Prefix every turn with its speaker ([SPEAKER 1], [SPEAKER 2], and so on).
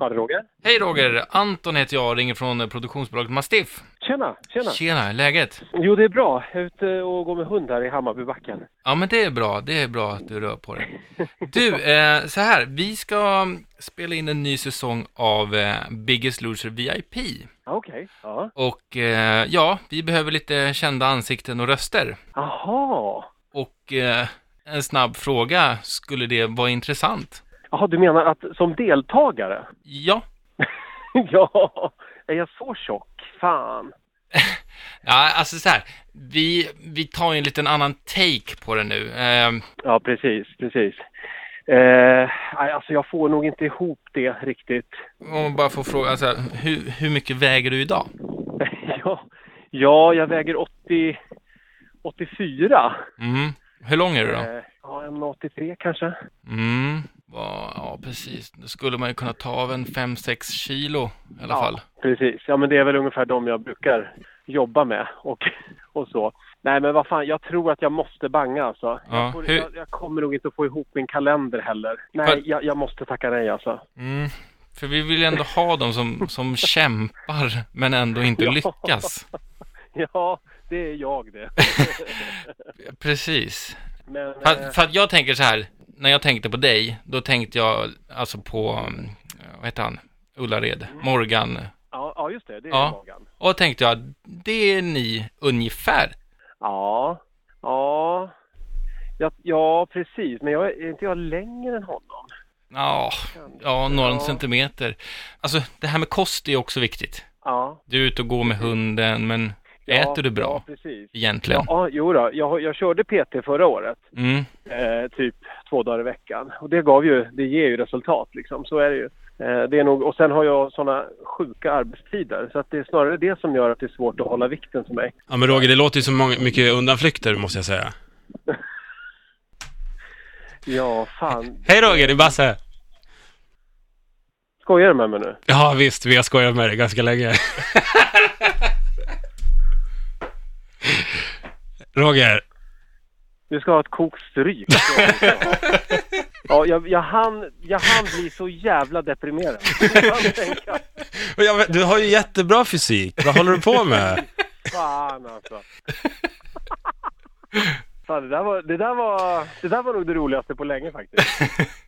[SPEAKER 1] Ja, det är Roger.
[SPEAKER 2] Hej Roger! Anton heter jag, ringer från eh, produktionsbolaget Mastiff.
[SPEAKER 1] Tjena, tjena.
[SPEAKER 2] Tjena, läget?
[SPEAKER 1] Jo, det är bra. Jag är ute och går med hund här i Hammarbybacken.
[SPEAKER 2] Ja men det är bra, det är bra att du rör på dig. Du, eh, så här, vi ska mm, spela in en ny säsong av eh, Biggest Loser VIP.
[SPEAKER 1] Ah, Okej. Ja.
[SPEAKER 2] Och eh, ja, vi behöver lite kända ansikten och röster.
[SPEAKER 1] Aha.
[SPEAKER 2] Och eh, en snabb fråga, skulle det vara intressant?
[SPEAKER 1] Jaha, du menar att som deltagare?
[SPEAKER 2] Ja.
[SPEAKER 1] ja. Är jag så tjock? Fan.
[SPEAKER 2] Ja, alltså så här, vi, vi tar ju en liten annan take på det nu. Eh,
[SPEAKER 1] Ja, precis, precis. Eh, nej, alltså jag får nog inte ihop det riktigt.
[SPEAKER 2] om man bara får fråga, så här, hur, hur mycket väger du idag?
[SPEAKER 1] ja. ja, jag väger 80, 84.
[SPEAKER 2] Mm. Hur lång är du då?
[SPEAKER 1] Eh, ja, en 83 kanske.
[SPEAKER 2] Mm. Ja, ja, precis. Då skulle man ju kunna ta av en 5-6 kilo i alla fall.
[SPEAKER 1] Ja, precis. Ja, men det är väl ungefär de jag brukar jobba med och, och så. Nej, men vad fan, jag tror att jag måste banga alltså.
[SPEAKER 2] Ja,
[SPEAKER 1] jag, får,
[SPEAKER 2] hur-
[SPEAKER 1] jag, jag kommer nog inte att få ihop min kalender heller.
[SPEAKER 2] För-
[SPEAKER 1] Nej, jag, jag måste tacka nej alltså.
[SPEAKER 2] Mm. För vi vill ju ändå ha dem som, som kämpar men ändå inte
[SPEAKER 1] Ja.
[SPEAKER 2] lyckas.
[SPEAKER 1] Ja, det är jag det.
[SPEAKER 2] Precis.
[SPEAKER 1] Men, eh,
[SPEAKER 2] För, för att jag tänker så här, när jag tänkte på dig, då tänkte jag alltså på, mm, vad heter han, Ullared,
[SPEAKER 1] Mm.
[SPEAKER 2] Morgan.
[SPEAKER 1] ja, ja, just det, det är
[SPEAKER 2] Ja.
[SPEAKER 1] Morgan.
[SPEAKER 2] Och tänkte jag, det är ni ungefär.
[SPEAKER 1] Ja, ja. Ja, ja, precis. Men jag, är inte jag längre än honom?
[SPEAKER 2] Ja,
[SPEAKER 1] Kanske,
[SPEAKER 2] ja några
[SPEAKER 1] ja.
[SPEAKER 2] centimeter. Alltså det här med kost är också viktigt.
[SPEAKER 1] Ja.
[SPEAKER 2] Du är ute och går med hunden, men
[SPEAKER 1] ja
[SPEAKER 2] äter du bra
[SPEAKER 1] Ja, precis.
[SPEAKER 2] egentligen?
[SPEAKER 1] Ja, jo då. Jag, jag körde PT förra året.
[SPEAKER 2] Mm.
[SPEAKER 1] eh, typ två dagar i veckan. Och det, gav ju, det ger ju resultat liksom, så är det ju. Eh, det är nog, och sen har jag sådana sjuka arbetstider så att det är snarare det som gör att det är svårt att hålla vikten för mig.
[SPEAKER 3] Ja men Roger, det låter ju som många, mycket undanflykter måste jag säga.
[SPEAKER 1] Ja, fan.
[SPEAKER 3] Hej Roger, det är Basse!
[SPEAKER 1] Skojar du med mig nu?
[SPEAKER 3] Ja visst, vi har skojat med dig ganska länge. Roger,
[SPEAKER 1] Du ska ha ett kokstryk. Ja, jag, jag, hann, jag hann bli så jävla deprimerad. Jag hann tänka,
[SPEAKER 3] men jag vet- du har ju jättebra fysik. Vad håller du på med?
[SPEAKER 1] fan alltså. Fan, det, där var, det, där var, det där var nog det roligaste på länge faktiskt.